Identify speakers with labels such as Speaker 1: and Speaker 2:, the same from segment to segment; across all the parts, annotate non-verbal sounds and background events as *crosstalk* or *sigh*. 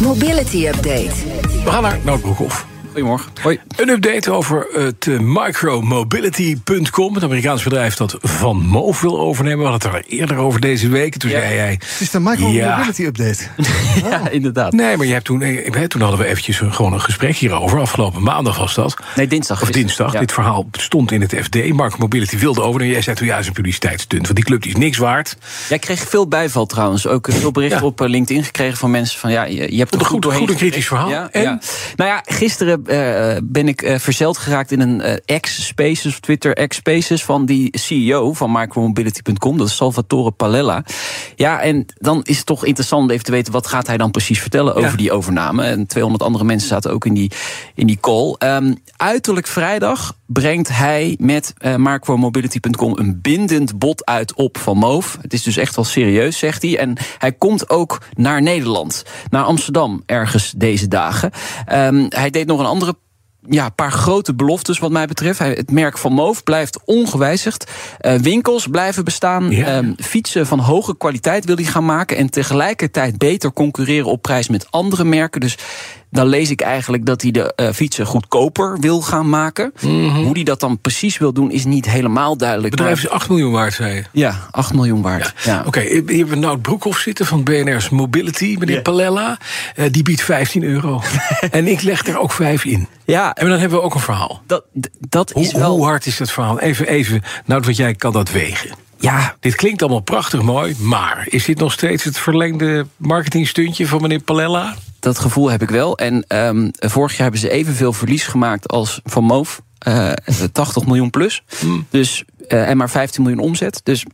Speaker 1: Mobility Update.
Speaker 2: We gaan naar Noordbroekhoff.
Speaker 3: Goedemorgen. Hoi.
Speaker 2: Een update over het eh, micromobility.com. Het Amerikaans bedrijf dat Van Moof wil overnemen. We hadden het er eerder over deze week. Toen zei jij...
Speaker 4: Het is de Micro
Speaker 2: Ja.
Speaker 4: Mobility Update.
Speaker 3: Ja, inderdaad.
Speaker 2: Nee, maar je hebt toen, eh, hè, toen hadden we eventjes een- gewoon een gesprek hierover. Afgelopen maandag was dat.
Speaker 3: Nee, dinsdag.
Speaker 2: Of
Speaker 3: Gisteren,
Speaker 2: dinsdag.
Speaker 3: ja.
Speaker 2: Dit verhaal stond in het FD. Mark Mobility wilde over. En jij zei toen, ja, het is een publiciteitsstunt. Want die club die is niks waard.
Speaker 3: Jij kreeg veel bijval trouwens. Ook eh, veel berichten
Speaker 2: Ja.
Speaker 3: op eh, LinkedIn gekregen van mensen van ja, je, je hebt er
Speaker 2: Een
Speaker 3: goed,
Speaker 2: goed-
Speaker 3: doorheen
Speaker 2: goed en kritisch
Speaker 3: gewerkt.
Speaker 2: verhaal.
Speaker 3: Ja,
Speaker 2: En?
Speaker 3: ja. Nou ja, gisteren eh, ben ik eh, verzeld geraakt in een eh, ex-spaces, of Twitter ex-spaces van die CEO van micromobility.com. Dat is Salvatore Palella. Ja, en dan is het toch interessant om even te weten wat gaat hij dan precies vertellen over die overname. En 200 andere mensen zaten ook in die, in die call. Ehm, uiterlijk vrijdag brengt hij met eh micromobility.com een bindend bod uit op Van Moof. Het is dus echt wel serieus, zegt hij. En hij komt ook naar Nederland, naar Amsterdam ergens deze dagen. Ehm, hij deed nog een andere ja, paar grote beloftes wat mij betreft. Hij- Het merk van Moof blijft ongewijzigd. Eh, winkels blijven bestaan.
Speaker 2: Ja.
Speaker 3: Ehm, fietsen van hoge kwaliteit wil hij gaan maken. En tegelijkertijd beter concurreren op prijs met andere merken. Dus dan lees ik eigenlijk dat hij de eh, fietsen goedkoper wil gaan maken. Hoe hij dat dan precies wil doen is niet helemaal duidelijk.
Speaker 2: Het Mhm. bedrijf is 8 miljoen waard, zei je.
Speaker 3: maar- ja, 8 miljoen waard. Ja.
Speaker 2: Oké, eh, hier hebben we Nout Broekhoff zitten van BNR's Mobility. Meneer Palella, eh, die biedt 15
Speaker 3: *laughs*
Speaker 2: euro. en ik leg er ook 5 in.
Speaker 3: Ja,
Speaker 2: En dan hebben we ook een verhaal.
Speaker 3: dat, d- dat is
Speaker 2: Hoe,
Speaker 3: wel...
Speaker 2: hoe hard is dat verhaal? Even, even, Nout, wat jij kan dat wegen.
Speaker 3: Ja,
Speaker 2: Dit klinkt allemaal prachtig mooi, maar is dit nog steeds het verlengde marketingstuntje van meneer Palella?
Speaker 3: dat gevoel heb ik wel. En ehm, vorig jaar hebben ze evenveel verlies gemaakt als Van Moof. Eh, 80 miljoen plus.
Speaker 2: Hmm.
Speaker 3: Dus, eh, en maar 15 miljoen omzet. Dus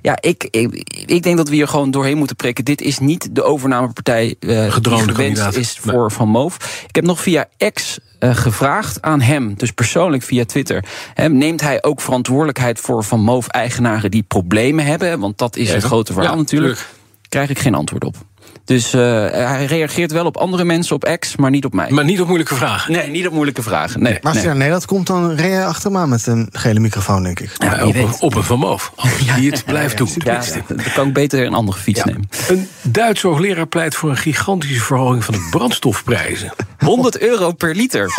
Speaker 3: ja, ik, ik, ik denk dat we hier gewoon doorheen moeten prikken. Dit is niet de overnamepartij eh
Speaker 2: Gedroomde
Speaker 3: die gewenst
Speaker 2: kandidaat.
Speaker 3: is
Speaker 2: Nee.
Speaker 3: voor Van Moof. Ik heb nog via X eh, gevraagd aan hem, dus persoonlijk via Twitter. Hè, neemt hij ook verantwoordelijkheid voor Van Moof-eigenaren die problemen hebben? Want dat is het grote verhaal
Speaker 2: Ja,
Speaker 3: natuurlijk
Speaker 2: tuurlijk.
Speaker 3: krijg ik geen antwoord op. Dus eh, hij reageert wel op andere mensen op X, maar niet op mij.
Speaker 2: Maar niet op moeilijke vragen.
Speaker 3: nee, niet op moeilijke vragen. Nee,
Speaker 4: Maar als
Speaker 3: nee.
Speaker 4: je naar Nederland komt, dan ren je achter me aan met een gele microfoon, denk ik.
Speaker 2: Maar Eh, op, een- op een
Speaker 3: *laughs*
Speaker 2: vermoof. Die het blijft doen.
Speaker 3: Ja,
Speaker 2: tenminste.
Speaker 3: dan kan ik beter een andere fiets nemen.
Speaker 2: Een Duitse hoogleraar pleit voor een gigantische verhoging van de brandstofprijzen.
Speaker 3: 100 euro per *laughs* liter.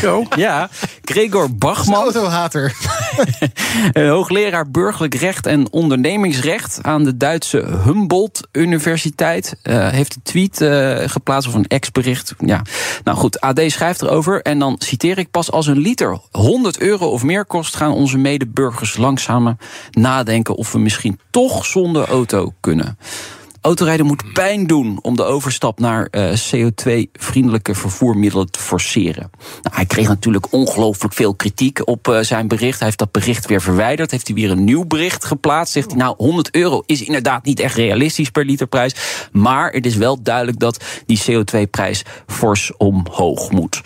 Speaker 2: Zo.
Speaker 3: Ja, Gregor Bachman,
Speaker 4: Autohater.
Speaker 3: een hoogleraar burgerlijk recht en ondernemingsrecht aan de Duitse Humboldt Universiteit, eh, heeft een tweet eh, geplaatst of een ex-bericht. Ja. Nou goed, AD schrijft erover en dan citeer ik pas als een liter 100 euro of meer kost, gaan onze medeburgers langzamer nadenken of we misschien toch zonder auto kunnen. Autorijden moet pijn doen om de overstap naar eh, CO2-vriendelijke vervoermiddelen te forceren. Nou, hij kreeg natuurlijk ongelooflijk veel kritiek op eh, zijn bericht. Hij heeft dat bericht weer verwijderd. Heeft hij weer een nieuw bericht geplaatst. Zegt hij, nou, 100 euro is inderdaad niet echt realistisch per literprijs. Maar het is wel duidelijk dat die CO2-prijs fors omhoog moet.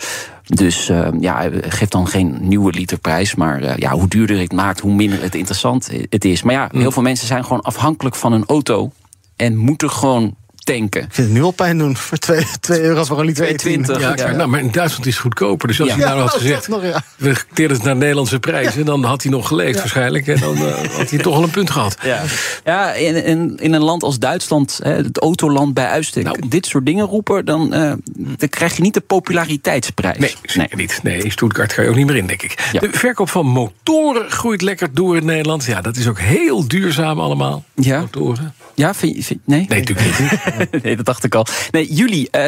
Speaker 3: Dus eh, ja, geef dan geen nieuwe literprijs. Maar eh, ja, hoe duurder het maakt, hoe minder het interessant eh, het is. Maar ja, heel veel mensen zijn gewoon afhankelijk van een auto. En moeten gewoon tanken.
Speaker 4: Ik vind het nu al pijn doen voor 2 euro voor een liter
Speaker 3: 2,20.
Speaker 4: 20.
Speaker 2: Ja,
Speaker 3: Ja.
Speaker 2: Nou, maar in Duitsland is het goedkoper. Dus als
Speaker 3: Ja.
Speaker 2: hij nou
Speaker 4: Ja,
Speaker 2: had
Speaker 4: dat
Speaker 2: gezegd,
Speaker 4: nog, ja.
Speaker 2: we teren het naar Nederlandse prijzen... dan had hij nog geleefd waarschijnlijk. En dan eh, had hij toch al een punt gehad.
Speaker 3: Ja, ja in, in, in een land als Duitsland, hè, het autoland bij uitstek,
Speaker 2: Nou.
Speaker 3: dit soort dingen roepen, dan, eh, dan krijg je niet de populariteitsprijs.
Speaker 2: Nee, zeker niet. Nee, in Stuttgart ga je ook niet meer in, denk ik.
Speaker 3: Ja.
Speaker 2: De verkoop van motoren groeit lekker door in Nederland. Ja, dat is ook heel duurzaam allemaal.
Speaker 3: Ja.
Speaker 2: Motoren.
Speaker 3: Ja, vind je? vind- nee?
Speaker 2: Nee, natuurlijk niet.
Speaker 3: *laughs* nee, dat dacht ik al. Nee, juli, eh 16%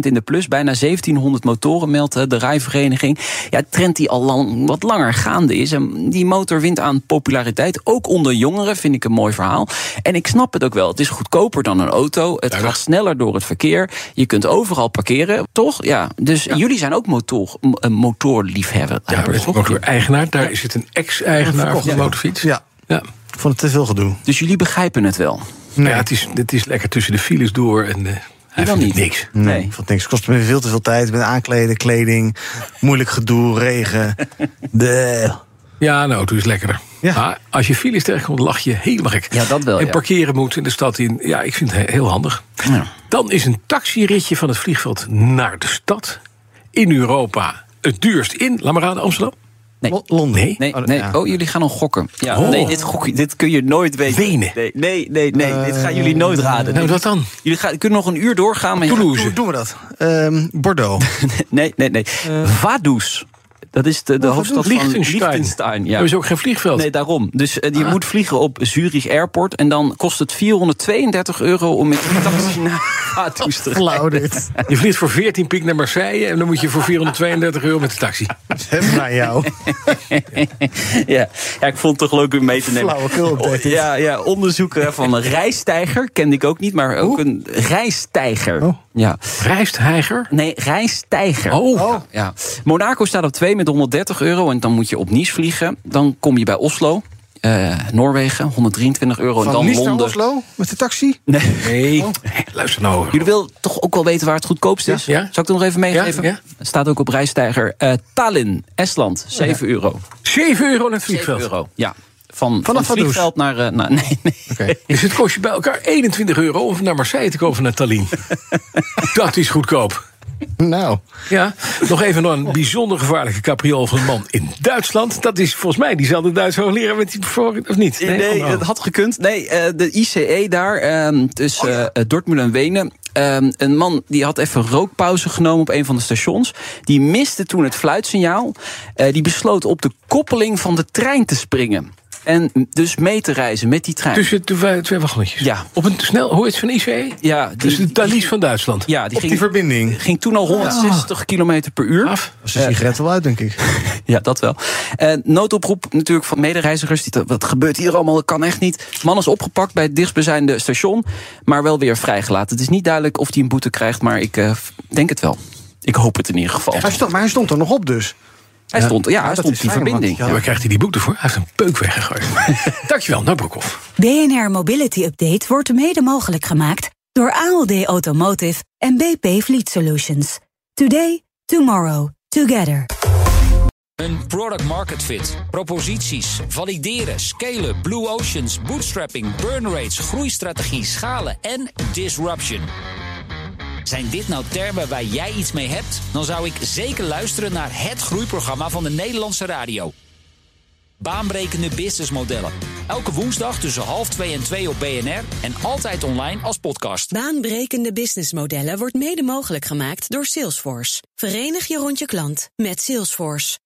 Speaker 3: in de plus. Bijna 1700 motoren meldt eh, de rijvereniging. Ja, trend die al lang, wat langer gaande is. En die motor wint aan populariteit. Ook onder jongeren vind ik een mooi verhaal. En ik snap het ook wel. Het is goedkoper dan een auto. Het gaat sneller door het verkeer. Je kunt overal parkeren, toch? Ja, dus jullie zijn ook motor, m- eh, motorliefhebber.
Speaker 2: Ja, maar het is ook een eigenaar. Daar is het een ex-eigenaar van de motorfiets.
Speaker 4: Ja.
Speaker 2: ja.
Speaker 4: Ik vond het te veel gedoe.
Speaker 3: Dus jullie begrijpen het wel.
Speaker 2: Nou Ja, het, is, het is lekker tussen de files door. En, eh, Hij
Speaker 3: dan
Speaker 2: vindt het
Speaker 3: niet.
Speaker 2: niks.
Speaker 3: Nee.
Speaker 4: Ik vond niks. Kost me veel te veel tijd. Met aankleden, kleding, moeilijk gedoe, regen. De.
Speaker 2: Ja, de auto is lekkerder.
Speaker 4: Ja.
Speaker 2: Maar als je files tegenkomt, lach je helemaal gek.
Speaker 3: Ja, dat wel,
Speaker 2: En
Speaker 3: ja.
Speaker 2: parkeren moet in de stad in. Ja, ik vind het he- heel handig. Dan is een taxiritje van het vliegveld naar de stad. In Europa het duurst in, laat maar raden, Amsterdam.
Speaker 3: Nee.
Speaker 4: Lo- Londen.
Speaker 2: Nee.
Speaker 3: Nee,
Speaker 4: Oh, dat-
Speaker 3: nee.
Speaker 4: ja.
Speaker 3: Oh, jullie gaan al gokken. Ja,
Speaker 2: Oh.
Speaker 3: Nee, dit, gok- dit kun je nooit weten.
Speaker 2: Wenen. Eh,
Speaker 3: Nee, nee, nee. nee, dit gaan jullie nooit raden.
Speaker 2: Nou,
Speaker 3: Dit-
Speaker 2: dat dan.
Speaker 3: Jullie gaan, kunnen nog een uur doorgaan. Maar je-
Speaker 2: Toulouse.
Speaker 4: Hoe doen we dat? Ehm, Bordeaux.
Speaker 3: *laughs* nee, nee, nee. Vaduz. Dat is de, de hoofdstad van
Speaker 2: Eh. Oh, Liechtenstein.
Speaker 3: Liechtenstein. Ja.
Speaker 2: Daar is Ah. ook geen vliegveld.
Speaker 3: Nee, daarom. Dus eh, je moet vliegen op Zurich Airport. En dan kost het 432 euro om met een
Speaker 2: *laughs*
Speaker 3: taxi naar Vaduz te gaan.
Speaker 4: Flauw dit.
Speaker 2: Je vliegt voor 14 piek naar Marseille. En dan moet je voor 432 euro met de taxi.
Speaker 4: Hem naar jou.
Speaker 3: Ja. ja, ik vond het toch leuk om mee te nemen. Oh,
Speaker 4: Flauwekul update dit.
Speaker 3: Ja, ja, onderzoeken van een rijstijger. Kende ik ook niet, maar ook een rijstijger.
Speaker 4: Oh.
Speaker 3: Ja.
Speaker 2: Rijstheiger.
Speaker 3: Nee, rijstijger.
Speaker 2: Oh,
Speaker 3: Ja. Monaco staat op 2 met 130 euro. En dan moet je op Nice vliegen. Dan kom je bij Oslo, eh, Noorwegen, 123 euro. en
Speaker 4: Van
Speaker 3: dan
Speaker 4: Nice naar
Speaker 3: Londen.
Speaker 4: Oslo met de taxi.
Speaker 3: Nee.
Speaker 2: nee. Luister nou.
Speaker 3: Jullie wil toch ook wel weten waar het goedkoopst is?
Speaker 2: Ja.
Speaker 3: Zal ik het nog even meegeven?
Speaker 2: Ja, ja.
Speaker 3: Het staat ook op rijstijger. Eh, Tallinn, Estland,
Speaker 4: Oh
Speaker 3: 7 euro.
Speaker 2: 7 euro naar het
Speaker 3: 7
Speaker 2: vliegveld.
Speaker 3: euro, ja. Van, van
Speaker 4: Vanaf
Speaker 3: het vliegveld naar... eh, naar- *laughs* nee, nee.
Speaker 2: Dus het kost je bij elkaar 21 euro om naar Marseille te komen van naar
Speaker 3: *laughs*
Speaker 2: Tallinn. Dat is goedkoop.
Speaker 4: Nou.
Speaker 2: Ja, nog even naar een bijzonder gevaarlijke capriool van een man in Duitsland. Dat is volgens mij diezelfde Duitse hoogleraar met die bevoorrecht, of niet?
Speaker 3: Nee,
Speaker 2: Oh,
Speaker 3: het had gekund. Nee, eh, de ICE daar, ehm, tussen eh, Dortmund en Wenen. ehm, een man die had even rookpauze genomen op een van de stations. Die miste toen het fluitsignaal. Eh, die besloot op de koppeling van de trein te springen. En dus mee te reizen met die trein.
Speaker 2: Tussen twee, twee wagonnetjes.
Speaker 3: Ja.
Speaker 2: Op een snel, hoe heet het van ICE?
Speaker 3: ja, die,
Speaker 2: Dus de Thalys van Duitsland.
Speaker 3: ja, die
Speaker 4: Op die
Speaker 3: ging,
Speaker 4: verbinding.
Speaker 3: ging toen al 160 km per uur.
Speaker 2: Af.
Speaker 4: Als een sigaret wel uit, denk ik.
Speaker 3: Ja, dat wel. Eh, noodoproep natuurlijk van medereizigers. Die, wat gebeurt hier allemaal? Dat kan echt niet. Man is opgepakt bij het dichtstbijzijnde station, maar wel weer vrijgelaten. Het is niet duidelijk of hij een boete krijgt, maar ik eh, denk het wel. Ik hoop het in ieder geval.
Speaker 4: Hij stond, maar hij stond er nog op dus.
Speaker 3: Hij stond, ja, hij
Speaker 4: dat
Speaker 3: stond
Speaker 4: is
Speaker 3: op die
Speaker 4: fijn, want-
Speaker 3: verbinding.
Speaker 4: ja,
Speaker 2: Ja, waar krijgt hij die boete voor? Hij heeft een peuk
Speaker 3: *laughs*
Speaker 2: weggegooid. Dankjewel, Nabrokov.
Speaker 5: BNR Mobility Update wordt mede mogelijk gemaakt door ALD Automotive en BP Fleet Solutions. Today, tomorrow, together.
Speaker 6: Een product market fit. Proposities. Valideren. Scalen. Blue oceans. Bootstrapping. Burn rates. Groeistrategie. Schalen. En disruption. Zijn dit nou termen waar jij iets mee hebt? Dan zou ik zeker luisteren naar het groeiprogramma van de Nederlandse radio. Baanbrekende businessmodellen. Elke woensdag tussen half twee en twee op BNR en altijd online als podcast.
Speaker 5: Baanbrekende businessmodellen wordt mede mogelijk gemaakt door Salesforce. Verenig je rond je klant met Salesforce.